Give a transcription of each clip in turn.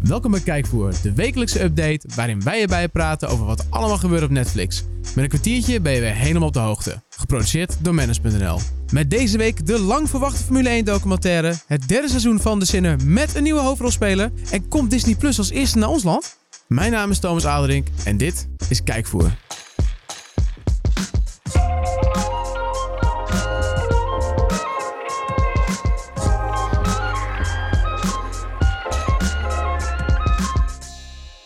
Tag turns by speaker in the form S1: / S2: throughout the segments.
S1: Welkom bij Kijkvoer, de wekelijkse update waarin wij erbij praten over wat allemaal gebeurt op Netflix. Met een kwartiertje ben je weer helemaal op de hoogte. Geproduceerd door Manage.nl. Met deze week de lang verwachte Formule 1 documentaire, het derde seizoen van De Sinner met een nieuwe hoofdrolspeler en komt Disney Plus als eerste naar ons land? Mijn naam is Thomas Aderink en dit is Kijkvoer.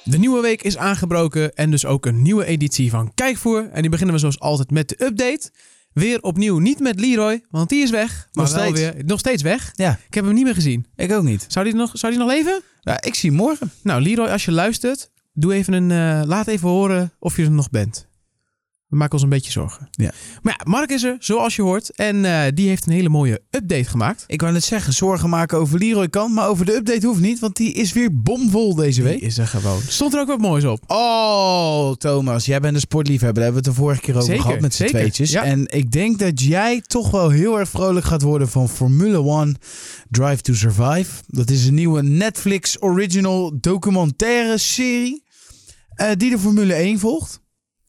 S1: De nieuwe week is aangebroken en dus ook een nieuwe editie van Kijkvoer. En die beginnen we zoals altijd met de update. Weer opnieuw niet met Leroy, want die is weg. Maar
S2: Nog
S1: wel
S2: steeds.
S1: weer nog steeds weg.
S2: Ja,
S1: Ik heb hem niet meer gezien.
S2: ik ook niet.
S1: Zou die nog, zou die nog leven?
S2: Ja, ik zie morgen.
S1: Nou, Leroy, als je luistert, doe even een, eh, laat even horen of je er nog bent. We maken ons een beetje zorgen.
S2: Ja.
S1: Maar ja, Mark is er, zoals je hoort. En eh, die heeft een hele mooie update gemaakt.
S2: Ik wou net zeggen, zorgen maken over Leroy kan, maar over de update hoeft niet, want die is weer bomvol deze
S1: Die
S2: week.
S1: is er gewoon. Stond er ook wat moois op.
S2: Oh, Thomas, jij bent een sportliefhebber. Daar hebben we het de vorige keer over
S1: Zeker,
S2: gehad met z'n
S1: zeker,
S2: tweetjes.
S1: ja.
S2: En ik denk dat jij toch wel heel erg vrolijk gaat worden van Formule One Drive to Survive. Dat is een nieuwe Netflix original documentaire serie eh, die de Formule 1 volgt.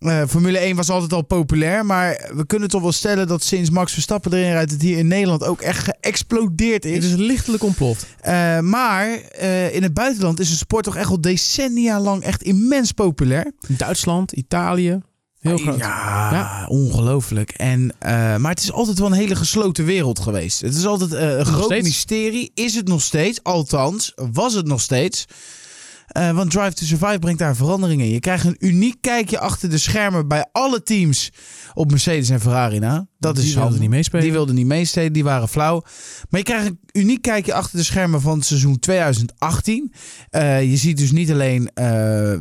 S2: Eh, Formule 1 was altijd al populair, maar we kunnen toch wel stellen dat sinds Max Verstappen erin rijdt, het hier in Nederland ook echt geëxplodeerd is.
S1: Het is lichtelijk ontploft.
S2: Eh, maar eh, in het buitenland is de sport toch echt al decennia lang echt immens populair.
S1: Duitsland, Italië. Heel groot.
S2: Ja,
S1: Ja.
S2: ongelooflijk. En, eh, maar het is altijd wel een hele gesloten wereld geweest. Het is altijd eh, een groot
S1: steeds.
S2: mysterie. Is het nog steeds? Althans, was het nog steeds? Eh, want Drive to Survive brengt daar veranderingen in. Je krijgt een uniek kijkje achter de schermen bij alle teams op Mercedes en Ferrari na. Dat
S1: Die
S2: is
S1: wilden
S2: handig.
S1: niet meespelen.
S2: Die wilden niet meespelen, die waren flauw. Maar je krijgt een uniek kijkje achter de schermen van het seizoen 2018. Eh, je ziet dus niet alleen, eh,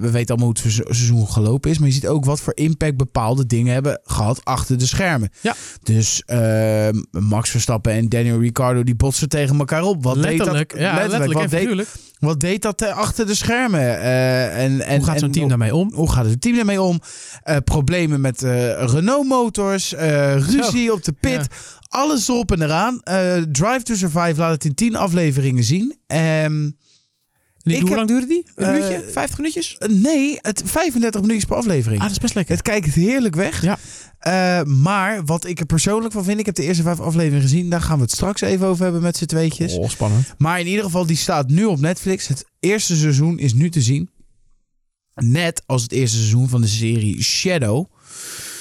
S2: we weten allemaal hoe het se- seizoen gelopen is, maar je ziet ook wat voor impact bepaalde dingen hebben gehad achter de schermen.
S1: Ja.
S2: Dus eh, Max Verstappen en Daniel Ricciardo die botsen tegen elkaar op. Wat
S1: letterlijk.
S2: deed dat,
S1: ja, letterlijk. en
S2: wat, deed,
S1: figuurlijk.
S2: wat deed dat eh, achter de schermen? Eh, en, en,
S1: Hoe gaat
S2: en
S1: zo'n team daarmee om?
S2: hoe gaat het team daarmee om? Eh, problemen met eh, Renault Motors, eh, ruzie op de pit.
S1: Oh, ja.
S2: Alles erop en eraan. Eh, Drive to Survive laat het in tien afleveringen zien. Ehm,
S1: Die-
S2: Ik
S1: hoe
S2: heb-
S1: lang duurde die? Een
S2: Eh,
S1: uurtje? Vijftig minuutjes?
S2: nee, het 35 minuutjes per aflevering.
S1: Ah, dat is best lekker.
S2: het kijkt heerlijk weg.
S1: Ja.
S2: Eh, maar wat ik er persoonlijk van vind, ik heb de eerste vijf afleveringen gezien. Daar gaan we het straks even over hebben met z'n tweetjes.
S1: Oh, spannend.
S2: Maar in ieder geval, die staat nu op Netflix. Het eerste seizoen is nu te zien. Net als het eerste seizoen van de serie Shadow.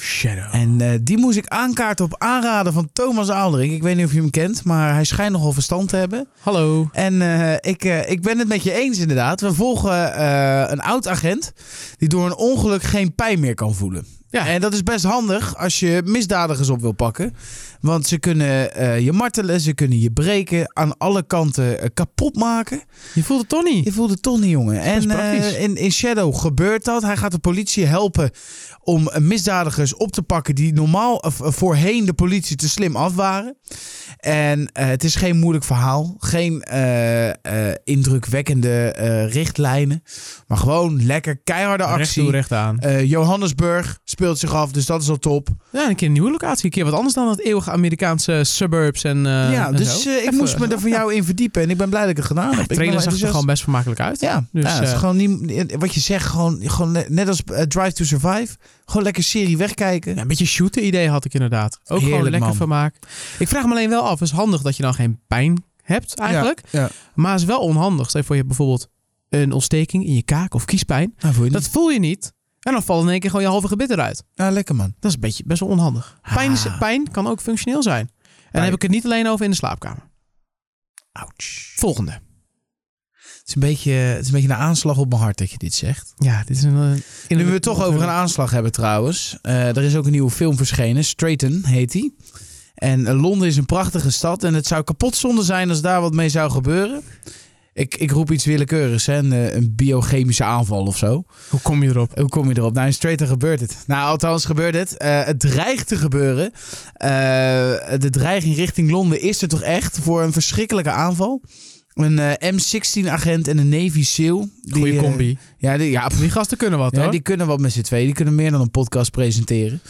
S1: Shadow.
S2: En eh, die moest ik aankaarten op aanraden van Thomas Aldering. Ik weet niet of je hem kent, maar hij schijnt nogal verstand te hebben.
S1: Hallo.
S2: En eh, ik, eh, ik ben het met je eens inderdaad. We volgen eh, een oud-agent die door een ongeluk geen pijn meer kan voelen.
S1: Ja.
S2: En dat is best handig als je misdadigers op wil pakken. Want ze kunnen eh, je martelen, ze kunnen je breken, aan alle kanten eh, kapot maken.
S1: Je voelt het toch niet?
S2: Je voelt het toch niet, jongen.
S1: best
S2: En
S1: praktisch.
S2: eh, in, in Shadow gebeurt dat. Hij gaat de politie helpen om misdadigers op te pakken die normaal of, eh, voorheen de politie te slim af waren. En eh, het is geen moeilijk verhaal. Geen eh, eh, indrukwekkende eh, richtlijnen. Maar gewoon lekker keiharde
S1: Recht toe,
S2: actie.
S1: recht aan.
S2: Eh, Johannesburg speelt zich af, dus dat is al top.
S1: Ja, een keer een nieuwe locatie. Een keer wat anders dan dat eeuwige Amerikaanse suburbs en eh,
S2: ja,
S1: en
S2: dus
S1: zo.
S2: eh, ik
S1: Even-
S2: moest me er voor jou in verdiepen. En ik ben blij dat ik het gedaan heb.
S1: De
S2: Ik ben dus
S1: trailer
S2: wel
S1: zag er
S2: enthousiast.
S1: gewoon best vermakelijk uit.
S2: Ja,
S1: Dus,
S2: dus, het is
S1: eh,
S2: gewoon niet, wat je zegt, gewoon, gewoon ne- net als eh, Drive to Survive. Gewoon lekker serie wegkijken.
S1: Ja, een beetje shooten idee had ik inderdaad. Ook gewoon
S2: Heerlijk,
S1: lekker
S2: man.
S1: vermaak. Ik vraag me alleen wel af, is handig dat je dan geen pijn hebt eigenlijk.
S2: Ja.
S1: Maar is wel onhandig. Stel je voor je hebt bijvoorbeeld een ontsteking in je kaak of kiespijn.
S2: Nou, voel je
S1: Dat
S2: dat?
S1: voel je niet. En dan valt in één keer gewoon je halve gebit eruit.
S2: Ja, lekker man.
S1: Dat is een beetje, best wel onhandig. Pijn, is-
S2: Ah.
S1: pijn kan ook functioneel zijn. En dan
S2: Pijn.
S1: heb ik het niet alleen over in de slaapkamer.
S2: Ouch.
S1: Volgende.
S2: Het is, een beetje, eh, het is een beetje een aanslag op mijn hart dat je dit zegt. eh,
S1: Ja, dit is een... eh,
S2: Nu we het toch over een aanslag hebben trouwens. eh, er is ook een nieuwe film verschenen. Straighten heet die. En eh, Londen is een prachtige stad. En het zou kapot zonde zijn als daar wat mee zou gebeuren. Ik, ik roep iets willekeurigs. Hè? Een, eh, een biochemische aanval of zo.
S1: Hoe kom je erop?
S2: Hoe kom je erop? Nou, in Straiten gebeurt het. Nou, althans gebeurt het. Eh, het dreigt te gebeuren. Eh, de dreiging richting Londen is er toch echt voor een verschrikkelijke aanval. Een eh, M16-agent en een Navy SEAL. Die,
S1: Goeie
S2: eh,
S1: combi.
S2: ja, die, ja,
S1: Ja, die gasten kunnen wat
S2: Ja,
S1: hoor.
S2: die kunnen wat met z'n tweeën. Die kunnen meer dan een podcast presenteren.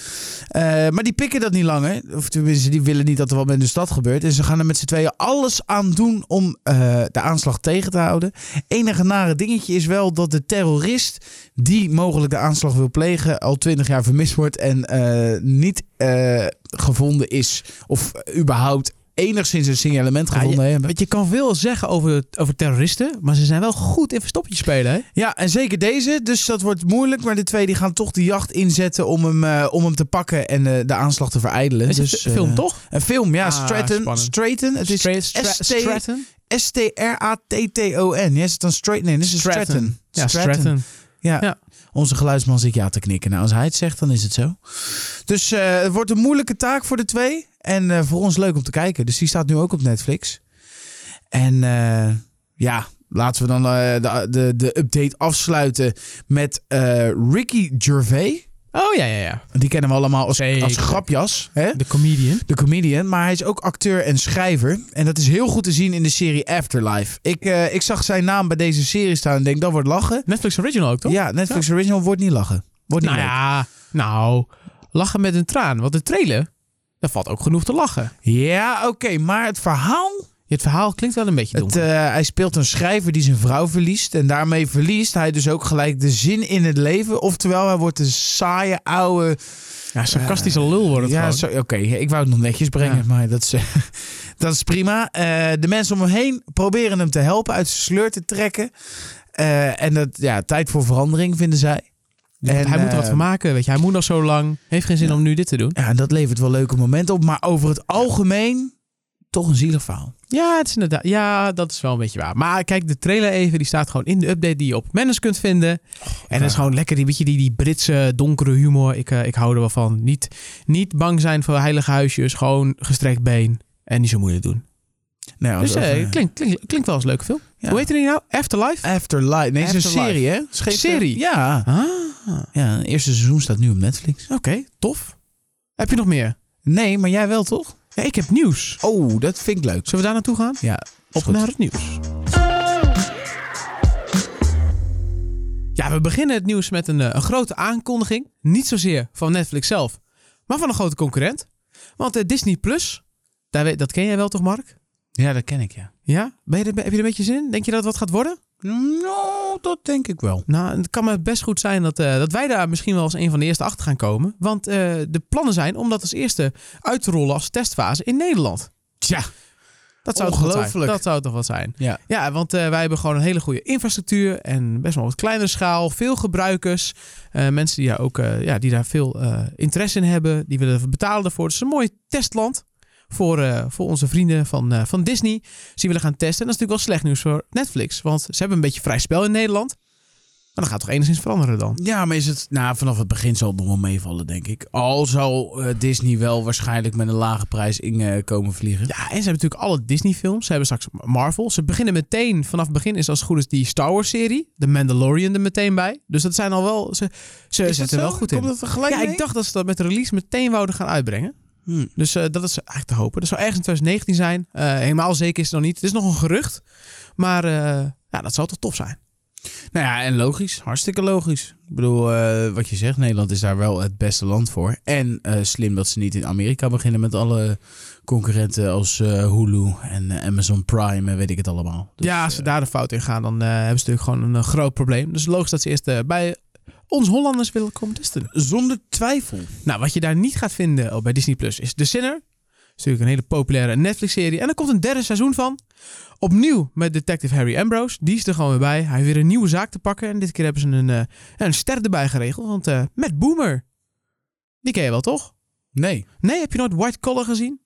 S2: Eh, maar die pikken dat niet langer. Of tenminste, die willen niet dat er wat met de stad gebeurt. En ze gaan er met z'n tweeën alles aan doen om eh, de aanslag tegen te houden. Enige nare dingetje is wel dat de terrorist die mogelijk de aanslag wil plegen... al twintig jaar vermist wordt en eh, niet eh, gevonden is. Of überhaupt enigszins een signalement
S1: Ja,
S2: gevonden hebben.
S1: Want je kan veel zeggen over, over terroristen, maar ze zijn wel goed in verstoppertje spelen. Hè?
S2: Ja, en zeker deze. Dus dat wordt moeilijk. Maar de twee die gaan toch de jacht inzetten om hem, eh, om hem te pakken en eh, de aanslag te vereidelen.
S1: Is
S2: dus,
S1: het
S2: eh,
S1: een film toch?
S2: Een film, ja.
S1: Ah,
S2: Stratton.
S1: spannend.
S2: Stratton. Het is
S1: Stra- Stra-
S2: ST
S1: Stratton?
S2: S-T-R-A-T-T-O-N. Ja, is het dan Stratton? Nee, dit is Stratton. Stratton.
S1: Ja, Stratton.
S2: Ja.
S1: Ja.
S2: Onze geluidsman zit ja te knikken. Nou, als hij het zegt, dan is het zo. Dus eh, het wordt een moeilijke taak voor de twee. En eh, voor ons leuk om te kijken. Dus die staat nu ook op Netflix. En eh, ja, laten we dan eh, de, de, de update afsluiten met eh, Ricky Gervais.
S1: Oh ja, ja, ja.
S2: Die kennen we allemaal als, als
S1: Zeker.
S2: grapjas. Hè?
S1: De comedian.
S2: de comedian, maar hij is ook acteur en schrijver. En dat is heel goed te zien in de serie Afterlife. Ik, eh, ik zag zijn naam bij deze serie staan en denk, dat wordt lachen.
S1: Netflix original ook toch?
S2: Ja, Netflix Original wordt niet lachen. Wordt niet
S1: nou
S2: leuk.
S1: ja, nou, lachen met een traan. Want de trailer, daar valt ook genoeg te lachen.
S2: Ja, oké, maar het verhaal...
S1: Het verhaal klinkt wel een beetje
S2: Het,
S1: donker.
S2: eh, hij speelt een schrijver die zijn vrouw verliest. En daarmee verliest hij dus ook gelijk de zin in het leven. Oftewel, hij wordt een saaie, oude... eh,
S1: ja, sarcastische lul wordt het
S2: ja,
S1: gewoon.
S2: zo- oké, ik wou het nog netjes brengen,
S1: Ja.
S2: maar dat is, eh, dat is prima. Eh, de mensen om hem heen proberen hem te helpen, uit zijn sleur te trekken. Eh, en dat, ja, tijd voor verandering vinden zij.
S1: Ja,
S2: en,
S1: hij moet er wat
S2: eh,
S1: van maken, weet je. Hij moet nog zo lang. Heeft geen zin om nu dit te doen.
S2: Ja, en dat levert wel leuke momenten op. Maar over het algemeen, toch een zielig verhaal.
S1: Ja, het is inderdaad, ja, dat is wel een beetje waar. Maar kijk, de trailer even, die staat gewoon in de update die je op Manus kunt vinden. en dat is gewoon lekker, die, beetje die, die Britse donkere humor. Ik, eh, ik hou er wel van. Niet, niet bang zijn voor heilige huisjes, gewoon gestrekt been. En niet zo moeilijk doen.
S2: Nou, ja,
S1: dus
S2: dat,
S1: eh,
S2: eh,
S1: klinkt, klinkt, klinkt wel eens een leuke film.
S2: Ja.
S1: Hoe heet die nou? Afterlife?
S2: Afterlife. Nee, het is een
S1: Afterlife.
S2: serie, hè? Is geen-
S1: Serie?
S2: Ja. Oh.
S1: Ah,
S2: ja, het eerste seizoen staat nu op Netflix.
S1: oké, tof. Heb je nog meer?
S2: Nee, maar jij wel, toch?
S1: Ja, ik heb nieuws.
S2: Oh, dat vind ik leuk.
S1: Zullen we daar naartoe gaan?
S2: Ja,
S1: Op naar het nieuws. Ja, we beginnen het nieuws met een, eh, een grote aankondiging. Niet zozeer van Netflix zelf, maar van een grote concurrent. Want eh, Disney Plus, daar, weet- dat ken jij wel toch, Mark?
S2: Ja, dat ken ik, ja.
S1: Ja? Ben je er, heb je er een beetje zin in? Denk je dat het wat gaat worden?
S2: Nou, dat denk ik wel.
S1: Nou, het kan maar best goed zijn dat, eh, dat wij daar misschien wel als een van de eerste achter gaan komen. Want eh, de plannen zijn om dat als eerste uit te rollen als testfase in Nederland.
S2: Tja.
S1: Dat zou toch wat zijn?
S2: Ongelooflijk.
S1: Dat zou toch wat zijn.
S2: Ja.
S1: Ja, want eh, wij hebben gewoon een hele goede infrastructuur en best wel wat kleinere schaal, veel gebruikers, eh, mensen die daar ook eh, ja, die daar veel eh, interesse in hebben, die willen betalen ervoor. Het is een mooi testland voor, eh, voor onze vrienden van, eh, van Disney. Dus die willen gaan testen. En dat is natuurlijk wel slecht nieuws voor Netflix, want ze hebben een beetje vrij spel in Nederland. Maar dat gaat toch enigszins veranderen dan?
S2: Ja, maar is het... Nou, vanaf het begin zal het nog wel meevallen, denk ik. Al zal eh, Disney wel waarschijnlijk met een lage prijs in eh, komen vliegen.
S1: Ja, en ze hebben natuurlijk alle Disney-films. Ze hebben straks Marvel. Ze beginnen meteen, vanaf het begin is als het goed is die Star Wars-serie. De Mandalorian er meteen bij. Dus dat zijn al wel, ze, ze zitten wel goed in.
S2: dat er gelijk
S1: Ja, ik dacht dat ze dat met de release meteen wouden gaan uitbrengen.
S2: Hmm.
S1: Dus eh, dat is eigenlijk te hopen. Dat zou ergens in 2019 zijn. Eh, helemaal zeker is het nog niet. Het is nog een gerucht. Maar eh, ja, dat zou toch tof zijn.
S2: Nou ja, en logisch. Hartstikke logisch. Ik bedoel, eh, wat je zegt, Nederland is daar wel het beste land voor. En eh, slim dat ze niet in Amerika beginnen met alle concurrenten als eh, Hulu en eh, Amazon Prime en weet ik het allemaal. Dus,
S1: ja, als
S2: eh,
S1: ze daar de fout in gaan, dan eh, hebben ze natuurlijk gewoon een eh, groot probleem. Dus logisch dat ze eerst eh, bij ons Hollanders willen komen testen.
S2: zonder twijfel.
S1: Nou, wat je daar niet gaat vinden oh, bij Disney Plus is The Sinner. Dat is natuurlijk een hele populaire Netflix-serie. En er komt een derde seizoen van. Opnieuw met detective Harry Ambrose. Die is er gewoon weer bij. Hij heeft weer een nieuwe zaak te pakken. En dit keer hebben ze een, eh, een ster erbij geregeld. Want eh met Boomer. Die ken je wel, toch?
S2: Nee.
S1: Nee, heb je nooit White Collar gezien?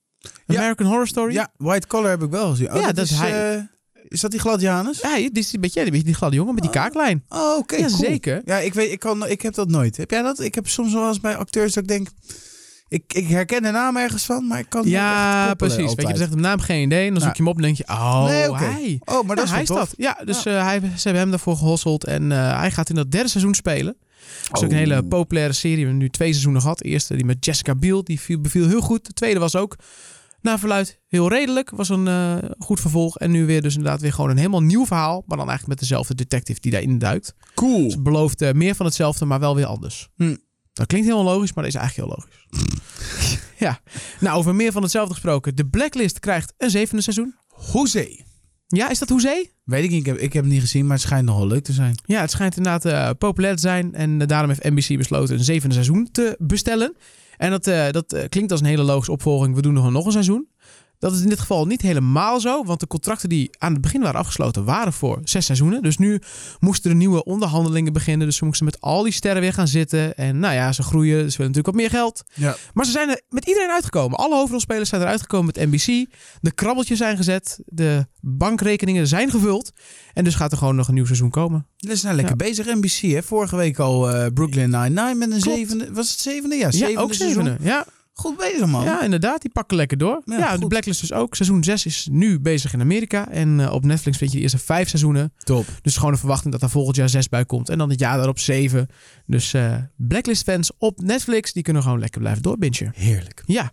S2: Ja.
S1: American Horror Story?
S2: Ja, White Collar heb ik wel gezien.
S1: Ja, dat is hij.
S2: eh, is dat die gladianus?
S1: Ja, dit is een beetje, een beetje die gladde jongen met die kaaklijn.
S2: Oh, oké,
S1: Ja,
S2: cool.
S1: zeker.
S2: Ja, ik, weet, ik, kan, ik heb dat nooit. Heb jij dat? Ik heb soms wel eens bij acteurs dat ik denk... Ik, ik herken de naam ergens van, maar ik kan het niet echt
S1: Ja,
S2: koppelen
S1: precies. Weet je,
S2: altijd.
S1: je zegt hem naam geen idee. En dan
S2: Ja.
S1: zoek je hem op en denk je, oh,
S2: Nee, oké.
S1: hij.
S2: Oh, maar dat
S1: Ja,
S2: is
S1: hij
S2: wel tof.
S1: staat. Ja, dus eh, hij, ze hebben hem daarvoor gehosseld. En eh, hij gaat in dat derde seizoen spelen. Dat is ook een
S2: Oh.
S1: hele populaire serie. We hebben nu twee seizoenen gehad. De eerste die met Jessica Biel. Die viel, beviel heel goed. De tweede was ook Na verluid heel redelijk, was een eh, goed vervolg. En nu weer dus inderdaad weer gewoon een helemaal nieuw verhaal. Maar dan eigenlijk met dezelfde detective die daarin duikt.
S2: Cool.
S1: Dus het belooft eh, meer van hetzelfde, maar wel weer anders.
S2: Hm.
S1: Dat klinkt heel logisch, maar dat is eigenlijk heel logisch. ja, nou over meer van hetzelfde gesproken. De Blacklist krijgt een zevende seizoen.
S2: Hoezee.
S1: Ja, is dat hoezee?
S2: Weet ik niet, ik heb, ik heb het niet gezien, maar het schijnt nogal leuk te zijn.
S1: Ja, het schijnt inderdaad eh, populair te zijn. En eh, daarom heeft NBC besloten een zevende seizoen te bestellen. En dat, eh, dat eh, klinkt als een hele logische opvolging. We doen nog een, nog een seizoen. Dat is in dit geval niet helemaal zo. Want de contracten die aan het begin waren afgesloten waren voor zes seizoenen. Dus nu moesten er nieuwe onderhandelingen beginnen. Dus ze moesten met al die sterren weer gaan zitten. En nou ja, ze groeien. Ze willen natuurlijk wat meer geld.
S2: Ja.
S1: Maar ze zijn er met iedereen uitgekomen. Alle hoofdrolspelers zijn eruit gekomen met NBC. De krabbeltjes zijn gezet. De bankrekeningen zijn gevuld. En dus gaat er gewoon nog een nieuw seizoen komen.
S2: Dat is nou lekker bezig, NBC. Hè? Vorige week al eh, Brooklyn Nine-Nine met een
S1: Klopt.
S2: zevende. Was het zevende? Ja,
S1: Ja,
S2: zevende
S1: ook
S2: seizoen.
S1: zevende. Ja,
S2: Goed bezig, man.
S1: ja, inderdaad. Die pakken lekker door.
S2: Ja,
S1: Ja,
S2: goed.
S1: de Blacklist dus ook. Seizoen 6 is nu bezig in Amerika. En eh, op Netflix vind je de eerste vijf seizoenen.
S2: Top.
S1: Dus gewoon de verwachting dat er volgend jaar zes bij komt. En dan het jaar daarop zeven. Dus eh, Blacklist-fans op Netflix, die kunnen gewoon lekker blijven doorbingen.
S2: Heerlijk.
S1: Ja.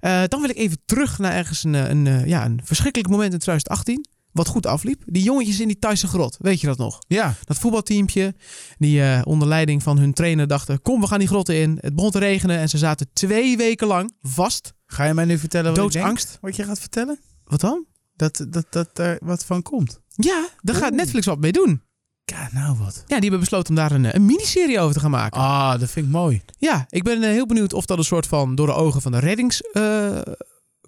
S1: Eh, dan wil ik even terug naar ergens een, eh, een, eh, ja, een verschrikkelijk moment in 2018. Wat goed afliep. Die jongetjes in die Thaise grot. Weet je dat nog?
S2: Ja.
S1: Dat voetbalteampje, die eh, onder leiding van hun trainer dachten... kom, we gaan die grotten in. Het begon te regenen en ze zaten twee weken lang vast.
S2: Ga je mij nu vertellen wat ik denk?
S1: Doodsangst.
S2: Wat je gaat vertellen?
S1: Wat dan?
S2: Dat, dat, dat daar wat van komt.
S1: Ja, daar gaat
S2: Oeh.
S1: Netflix wat mee doen.
S2: Ja, nou wat.
S1: Ja, die hebben besloten om daar een, eh, een miniserie over te gaan maken.
S2: Ah, dat vind ik mooi.
S1: Ja, ik ben eh, heel benieuwd of dat een soort van door de ogen van de reddingskant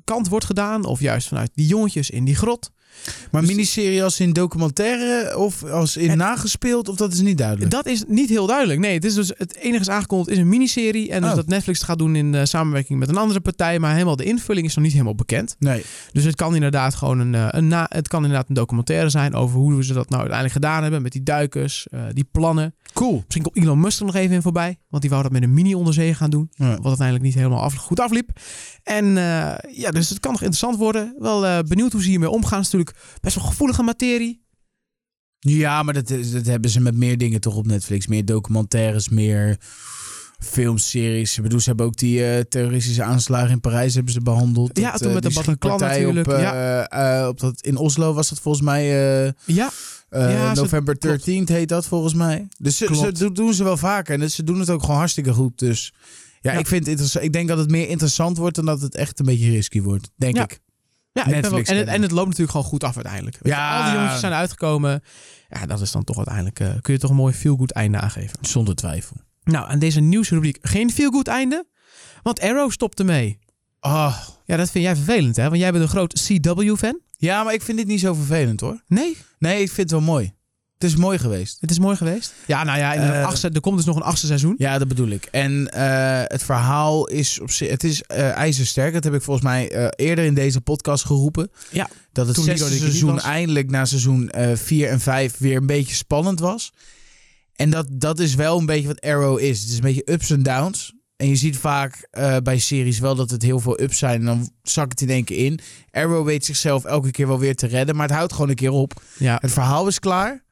S1: eh, wordt gedaan. Of juist vanuit die jongetjes in die grot.
S2: Maar
S1: Dus-
S2: miniserie als in documentaire eh, of als in
S1: En-
S2: nagespeeld, of dat is niet duidelijk?
S1: Dat is niet heel duidelijk. Nee, het, is dus, het enige is aangekondigd is een miniserie. En dus
S2: Oh.
S1: dat Netflix het gaat doen in eh, samenwerking met een andere partij. Maar helemaal de invulling is nog niet helemaal bekend.
S2: Nee.
S1: Dus het kan inderdaad gewoon een, eh, een, na, het kan inderdaad een documentaire zijn over hoe ze dat nou uiteindelijk gedaan hebben met die duikers, eh, die plannen.
S2: Cool.
S1: Misschien komt Elon Musk er nog even in voorbij, want die wou dat met een mini onderzee gaan doen,
S2: Ja.
S1: wat uiteindelijk niet helemaal af, goed afliep. En eh, ja, dus het kan nog interessant worden. Wel eh, benieuwd hoe ze hiermee omgaan. Het is natuurlijk best wel gevoelige materie.
S2: Ja, maar dat, is- dat hebben ze met meer dingen toch op Netflix. Meer documentaires, meer filmseries. Ik bedoel, ze hebben ook die eh, terroristische aanslagen in Parijs hebben ze behandeld.
S1: Ja, toen
S2: eh,
S1: met de
S2: die
S1: Bataclan
S2: schietpartij op,
S1: natuurlijk,
S2: eh, eh, op dat, in Oslo was dat volgens mij... eh,
S1: Ja,
S2: eh,
S1: Ja, ze-
S2: november
S1: klopt.
S2: 13 heet dat volgens mij. Dus ze, ze
S1: Klopt.
S2: do- doen ze wel vaker. En ze doen het ook gewoon hartstikke goed. Dus ja,
S1: Ja.
S2: Ik, vind het interessant, ik denk dat het meer interessant wordt dan dat het echt een beetje risky wordt. Denk
S1: Ja.
S2: ik.
S1: ja ik ben wel,
S2: Netflix
S1: en, het,
S2: kennen.
S1: en het loopt natuurlijk gewoon goed af uiteindelijk. Weet je,
S2: Ja.
S1: Al die jongetjes zijn uitgekomen. Ja, dat is dan toch uiteindelijk, eh, kun je toch een mooi feel-good einde aangeven.
S2: Zonder twijfel.
S1: Nou, aan deze nieuwsrubriek geen feel-good einde. Want Arrow stopte mee.
S2: Oh.
S1: Ja, dat vind jij vervelend, hè? Want jij bent een groot CW-fan.
S2: Ja, maar ik vind dit niet zo vervelend hoor.
S1: Nee,
S2: Nee, ik vind het wel mooi. Het is mooi geweest.
S1: het is mooi geweest. Ja, nou ja, in de
S2: Eh,
S1: achtste, er komt dus nog een achtste seizoen.
S2: Ja, dat bedoel ik. En eh, het verhaal is op zich. Het is eh, ijzersterk. Dat heb ik volgens mij eh, eerder in deze podcast geroepen.
S1: Ja.
S2: Dat het
S1: Toen
S2: zesde
S1: Lido er niet
S2: seizoen
S1: was.
S2: eindelijk na seizoen 4 en 5 weer een beetje spannend was. En dat, dat is wel een beetje wat Arrow is. Het is een beetje ups en downs. En je ziet vaak eh, bij series wel dat het heel veel ups zijn. En dan zakt het in één keer in. Arrow weet zichzelf elke keer wel weer te redden. Maar het houdt gewoon een keer op.
S1: Ja.
S2: Het verhaal is klaar.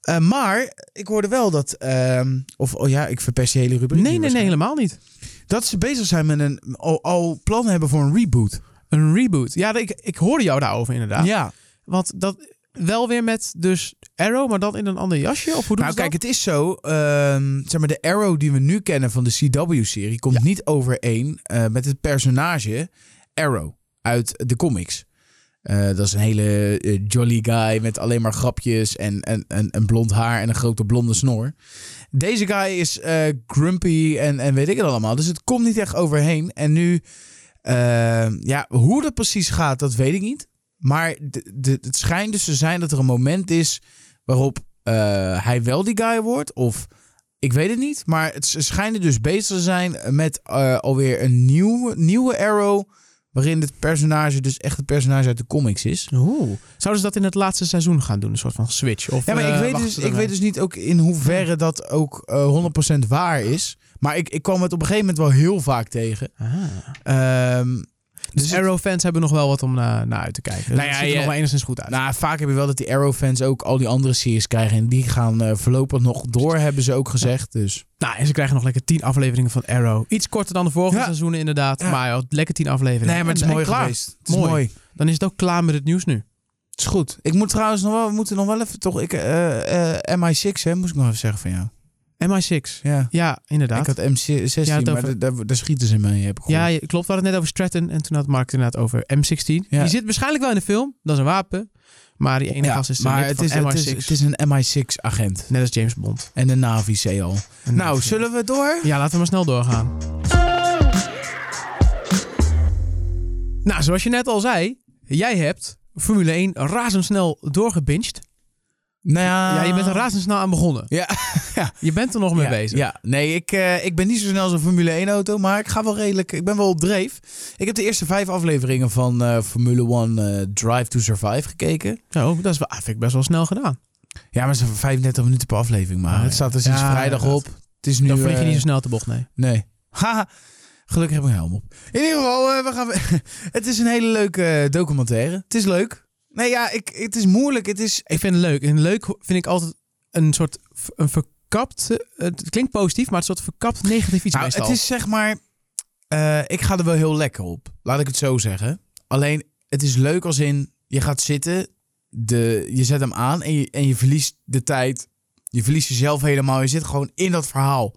S2: Eh, maar ik hoorde wel dat. ehm, of oh ja, ik verpest die hele rubriek.
S1: Nee,
S2: hier
S1: nee, nee,
S2: waarschijnlijk.
S1: helemaal niet.
S2: Dat ze bezig zijn met een. Al, al plannen hebben voor een reboot.
S1: Een reboot. Ja, ik, ik hoorde jou daarover inderdaad.
S2: ja.
S1: Want dat wel weer met dus Arrow, maar dan in een ander jasje? Of hoe doen
S2: Nou,
S1: ze
S2: kijk, het is zo. ehm, zeg maar, de Arrow die we nu kennen van de CW-serie komt niet overeen eh, met het personage Arrow uit de comics. Eh, dat is een hele eh, jolly guy met alleen maar grapjes en, en, en, en blond haar en een grote blonde snor. Deze guy is eh, grumpy en, en weet ik het allemaal. Dus het komt niet echt overheen. En nu, eh, ja, hoe dat precies gaat, dat weet ik niet. Maar de, de, het schijnt dus te zijn dat er een moment is waarop eh, hij wel die guy wordt. Of ik weet het niet. Maar het, ze schijnen dus bezig te zijn met eh, alweer een nieuw, nieuwe Arrow. Waarin het personage dus echt het personage uit de comics is.
S1: dat? Oeh. Zouden ze dat in het laatste seizoen gaan doen? Een soort van switch? Of,
S2: Ja, maar
S1: eh,
S2: ik, weet
S1: wachten
S2: dus,
S1: ze
S2: ik
S1: ermee?
S2: weet dus niet ook in hoeverre dat ook eh, 100% waar is. Maar ik, ik kwam het op een gegeven moment wel heel vaak tegen.
S1: Ah.
S2: Ehm,
S1: Dus
S2: Dus het-
S1: Arrow-fans hebben nog wel wat om na- naar uit te kijken.
S2: Nou
S1: Nou
S2: ja,
S1: ziet er
S2: je-
S1: nog wel enigszins goed uit.
S2: Nou, vaak heb je wel dat die Arrow-fans ook al die andere series krijgen. En die gaan eh, voorlopig nog door, hebben ze ook gezegd. Dus
S1: Nou, en ze krijgen nog lekker tien afleveringen van Arrow. Iets korter dan de vorige
S2: Ja.
S1: seizoenen inderdaad.
S2: Ja.
S1: Maar ja, lekker tien afleveringen.
S2: nee, maar
S1: En-
S2: het is
S1: en
S2: mooi
S1: klaar.
S2: geweest. Het is
S1: Mooi.
S2: mooi.
S1: Dan is het ook klaar met het nieuws nu.
S2: Het is goed. Ik moet trouwens nog wel, we moeten nog wel even toch. Ik, eh, eh, MI6, hè, moest ik nog even zeggen van jou.
S1: MI6.
S2: Ja.
S1: Ja, inderdaad.
S2: Ik had MC16,
S1: Ja, het
S2: maar
S1: over-
S2: daar, daar- daar schieten ze mee, heb ik
S1: ja,
S2: gehoord.
S1: je- klopt. We hadden het net over Stratton. En toen had Mark het inderdaad over M16.
S2: Ja.
S1: Die zit waarschijnlijk wel in de film. Dat is een wapen. Maar die ene
S2: Ja,
S1: gast is
S2: maar
S1: maar
S2: het
S1: van
S2: is,
S1: MI6.
S2: het, is, het is een MI6-agent.
S1: Net als James Bond.
S2: En de Navy al.
S1: En
S2: Nou,
S1: dat-
S2: zullen we door?
S1: Ja, laten we maar snel doorgaan. Nou, zoals je net al zei, jij hebt Formule 1 razendsnel doorgebinged.
S2: Nou
S1: ja, je bent er razendsnel aan begonnen.
S2: Ja,
S1: Je bent er nog mee
S2: ja,
S1: bezig.
S2: Ja, nee, ik, eh, ik ben niet zo snel als een Formule 1-auto, maar ik ga wel redelijk. Ik ben wel op dreef. Ik heb de eerste vijf afleveringen van eh, Formule 1 eh, Drive to Survive gekeken.
S1: Zo, dat is wel, ah, vind ik best wel snel gedaan.
S2: Ja, maar ze hebben 35 minuten per aflevering, maar
S1: Ah,
S2: het staat er sinds
S1: ja,
S2: vrijdag
S1: inderdaad.
S2: op. Het is nu.
S1: Dan vlieg je
S2: eh,
S1: niet zo snel te bocht, nee.
S2: Nee. Haha. Gelukkig heb ik een helm op. In ieder geval, eh, we gaan. we- het is een hele leuke eh, documentaire. Het is leuk. Nee, ja, ik, het is moeilijk. Het is.
S1: Ik vind het leuk. En leuk vind ik altijd een soort v- een verkapt... eh, Het klinkt positief, maar het soort verkapt negatief iets
S2: Nou,
S1: meestal.
S2: het is zeg maar. eh, ik ga er wel heel lekker op. Laat ik het zo zeggen. Alleen, het is leuk als in. Je gaat zitten. De, je zet hem aan en je, en je verliest de tijd. Je verliest jezelf helemaal. Je zit gewoon in dat verhaal.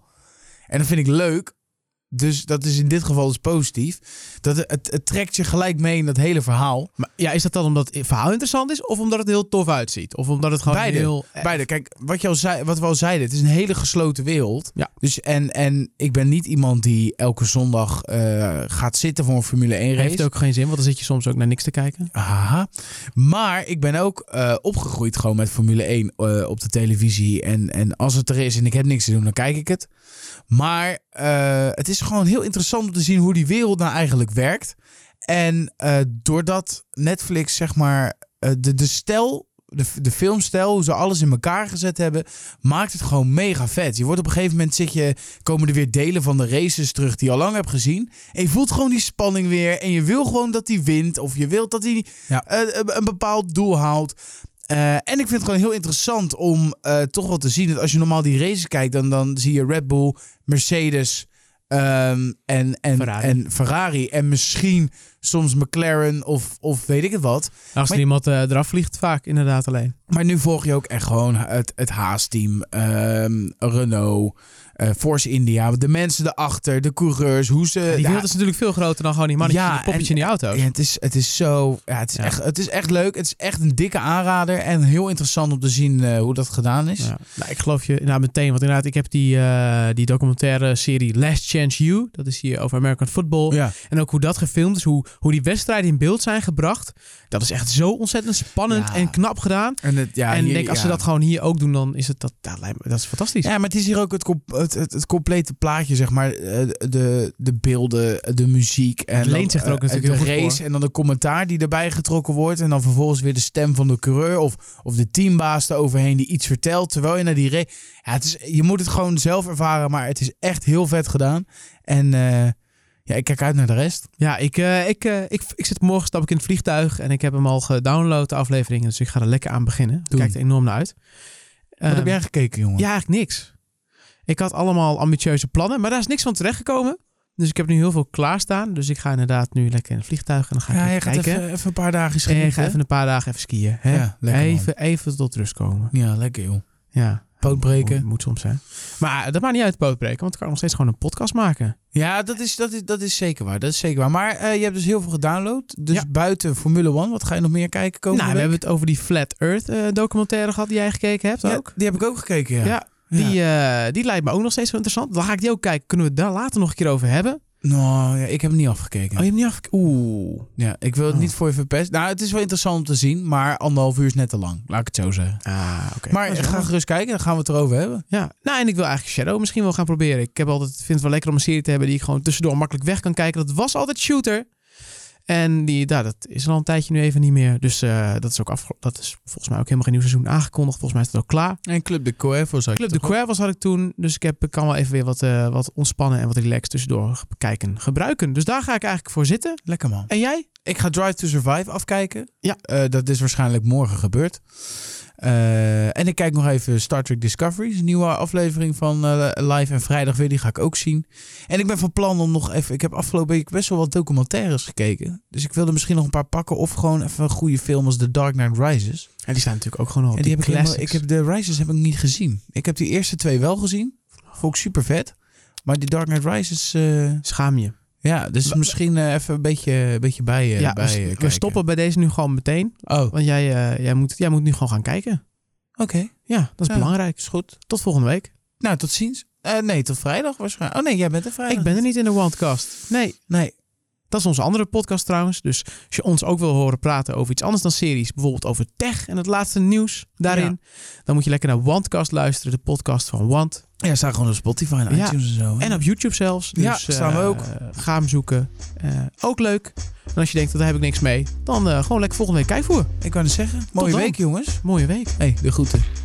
S2: En dat vind ik leuk. Dus dat is in dit geval dus positief. Dat het, het, het trekt je gelijk mee in dat hele verhaal.
S1: Maar ja, is dat dan omdat het verhaal interessant is? Of omdat het heel tof uitziet? Of omdat het gewoon
S2: Beide.
S1: heel...
S2: Beide, kijk, wat, je al zei, wat we al zeiden, het is een hele gesloten wereld.
S1: Ja.
S2: Dus en, en ik ben niet iemand die elke zondag eh, gaat zitten voor een Formule 1 race.
S1: Heeft ook geen zin, want dan zit je soms ook naar niks te kijken.
S2: Haha. Maar ik ben ook eh, opgegroeid gewoon met Formule 1 eh, op de televisie. En, en als het er is en ik heb niks te doen, dan kijk ik het. Maar eh, het is gewoon heel interessant om te zien hoe die wereld nou eigenlijk werkt. En eh, doordat Netflix, zeg maar, eh, de, de stijl, de, de filmstijl, hoe ze alles in elkaar gezet hebben, maakt het gewoon mega vet. Je wordt op een gegeven moment, zit je, komen er weer delen van de races terug die je al lang hebt gezien. En je voelt gewoon die spanning weer. En je wil gewoon dat hij wint. Of je wilt dat hij
S1: Ja.
S2: eh, een- een bepaald doel haalt. Eh, en ik vind het gewoon heel interessant om eh, toch wel te zien dat als je normaal die races kijkt, dan, dan zie je Red Bull, Mercedes ehm, en, en,
S1: Ferrari.
S2: en Ferrari. En misschien soms McLaren of, of weet ik het wat.
S1: Als er
S2: Maar-
S1: iemand eh, eraf vliegt, vaak inderdaad alleen.
S2: Maar nu volg je ook echt gewoon het, het Haas-team, ehm, Renault, eh, Force India, de mensen erachter, de coureurs, hoe ze.
S1: Die
S2: Eh, ja,
S1: wereld is natuurlijk veel groter dan gewoon die mannetje
S2: Ja,
S1: met een poppetje
S2: en-
S1: in die auto.
S2: Ja, het is, het is zo. Ja, het, is
S1: Ja.
S2: Echt, het is echt leuk. Het is echt een dikke aanrader. En heel interessant om te zien eh, hoe dat gedaan is.
S1: Ja. Nou, ik geloof je nou, meteen, want inderdaad, ik heb die, eh, die documentaire serie Last Chance You. Dat is hier over American Football.
S2: Ja.
S1: En ook hoe dat gefilmd is, hoe, hoe die wedstrijden in beeld zijn gebracht. Dat is echt zo ontzettend spannend
S2: Ja.
S1: en knap gedaan.
S2: En, het, ja,
S1: en ik
S2: hier-
S1: denk, als
S2: ja.
S1: ze dat gewoon hier ook doen, dan is het dat, dat, lijkt me, dat is fantastisch.
S2: Ja, maar het is hier ook het, com- het, het, het complete plaatje, zeg maar. Eh, De, de beelden, de muziek. En
S1: Het leent zich er ook
S2: eh,
S1: natuurlijk
S2: De
S1: heel goed
S2: race en dan de commentaar die erbij getrokken wordt. En dan vervolgens weer de stem van de coureur of, of de teambaas eroverheen die iets vertelt. Terwijl je naar die race... Ja, het is, je moet het gewoon zelf ervaren, maar het is echt heel vet gedaan. En eh, ja, ik kijk uit naar de rest.
S1: Ja, ik, eh, ik, eh, ik, ik zit morgen stap ik in het vliegtuig en ik heb hem al gedownload, de aflevering. Dus ik ga er lekker aan beginnen. Het
S2: Doen.
S1: kijkt er enorm naar uit.
S2: Wat
S1: Ehm,
S2: heb jij gekeken, jongen?
S1: Ja, eigenlijk niks. Ik had allemaal ambitieuze plannen, maar daar is niks van terechtgekomen. Dus ik heb nu heel veel klaarstaan. Dus ik ga inderdaad nu lekker in het vliegtuig en dan ga ik
S2: Ja,
S1: even
S2: je gaat
S1: kijken.
S2: even, even een paar dagen
S1: en ik ga
S2: schieten.
S1: even een paar dagen even skiën. Hè?
S2: Ja, lekker, man.
S1: even, even tot rust komen.
S2: Ja, lekker joh.
S1: Ja,
S2: Poot breken.
S1: moet, moet soms zijn. Maar eh, dat maakt niet uit, pootbreken. Want ik kan nog steeds gewoon een podcast maken.
S2: Ja, dat is, dat is, dat is zeker waar. Dat is zeker waar. Maar eh, je hebt dus heel veel gedownload. Dus
S1: Ja.
S2: buiten Formule 1, wat ga je nog meer kijken
S1: Nou,
S2: komende
S1: we hebben
S2: week?
S1: het over die Flat Earth eh, documentaire gehad die jij gekeken hebt
S2: Ja,
S1: ook.
S2: die heb ik ook gekeken, ja.
S1: Ja, Die, eh, die lijkt me ook nog steeds wel interessant. Dan ga ik die ook kijken. Kunnen we het daar later nog een keer over hebben?
S2: Nou, ja, ik heb hem niet afgekeken.
S1: Oh, je hebt niet afge... Oeh.
S2: Ja, ik wil het
S1: Oh.
S2: niet voor je verpesten. Nou, het is wel interessant om te zien, maar anderhalf uur is net te lang. Laat ik het zo zeggen.
S1: Ah, oké.
S2: Maar ga gerust kijken, dan gaan we het erover hebben.
S1: Ja, nou en ik wil eigenlijk Shadow misschien wel gaan proberen. Ik heb altijd, vind het wel lekker om een serie te hebben die ik gewoon tussendoor makkelijk weg kan kijken. Dat was altijd Shooter. En die, nou, dat is al een tijdje nu even niet meer. Dus eh, dat, is ook afge- dat is volgens mij ook helemaal geen nieuw seizoen aangekondigd. Volgens mij is het ook klaar.
S2: En Club de Coevo zou
S1: Club de Cuervos had ik toen. Dus ik heb, ik kan wel even weer wat, eh, wat ontspannen en wat relaxed tussendoor ge- kijken, gebruiken. Dus daar ga ik eigenlijk voor zitten.
S2: Lekker man.
S1: En jij?
S2: Ik ga Drive to Survive afkijken.
S1: Ja.
S2: Eh, dat is waarschijnlijk morgen gebeurd. Eh, en ik kijk nog even Star Trek Discovery. Is een nieuwe aflevering van eh, live en vrijdag weer. Die ga ik ook zien. En ik ben van plan om nog even... Ik heb afgelopen week best wel wat documentaires gekeken. Dus ik wilde misschien nog een paar pakken. Of gewoon even een goede film als The Dark Knight Rises.
S1: En Oh, die staan natuurlijk ook gewoon al op
S2: en die, heb ik, helemaal, ik
S1: classics.
S2: heb de Rises heb ik niet gezien. Ik heb die eerste twee wel gezien. Vond ik super vet. Maar die Dark Knight Rises... eh,
S1: Schaam je.
S2: ja, dus
S1: Wa-
S2: misschien eh, even een beetje, een beetje bij, eh,
S1: ja,
S2: bij eh,
S1: we, we
S2: kijken.
S1: stoppen bij deze nu gewoon meteen.
S2: Oh, oké.
S1: Want jij, eh, jij, moet, jij moet nu gewoon gaan kijken. Ja, dat is
S2: Ja.
S1: belangrijk.
S2: Is goed.
S1: Tot volgende week.
S2: Nou, tot ziens. Eh, nee, tot vrijdag waarschijnlijk. Oh nee, jij bent er vrijdag.
S1: Ik ben er niet in de Wildcast. Nee,
S2: Nee.
S1: dat is onze andere podcast trouwens. Dus als je ons ook wil horen praten over iets anders dan series, bijvoorbeeld over tech en het laatste nieuws daarin, dan moet je lekker naar Wantcast luisteren, de podcast van Want.
S2: Ja, staan gewoon op Spotify en
S1: Ja.
S2: iTunes en zo. hè?
S1: En op YouTube zelfs. Dus,
S2: Ja, staan we
S1: eh,
S2: ook.
S1: Ga hem zoeken. Eh, ook leuk. En als je denkt, daar heb ik niks mee, dan eh, gewoon lekker volgende week kijken voor.
S2: Ik wou net zeggen, mooie
S1: dan.
S2: week jongens.
S1: Mooie week.
S2: hey, de groeten.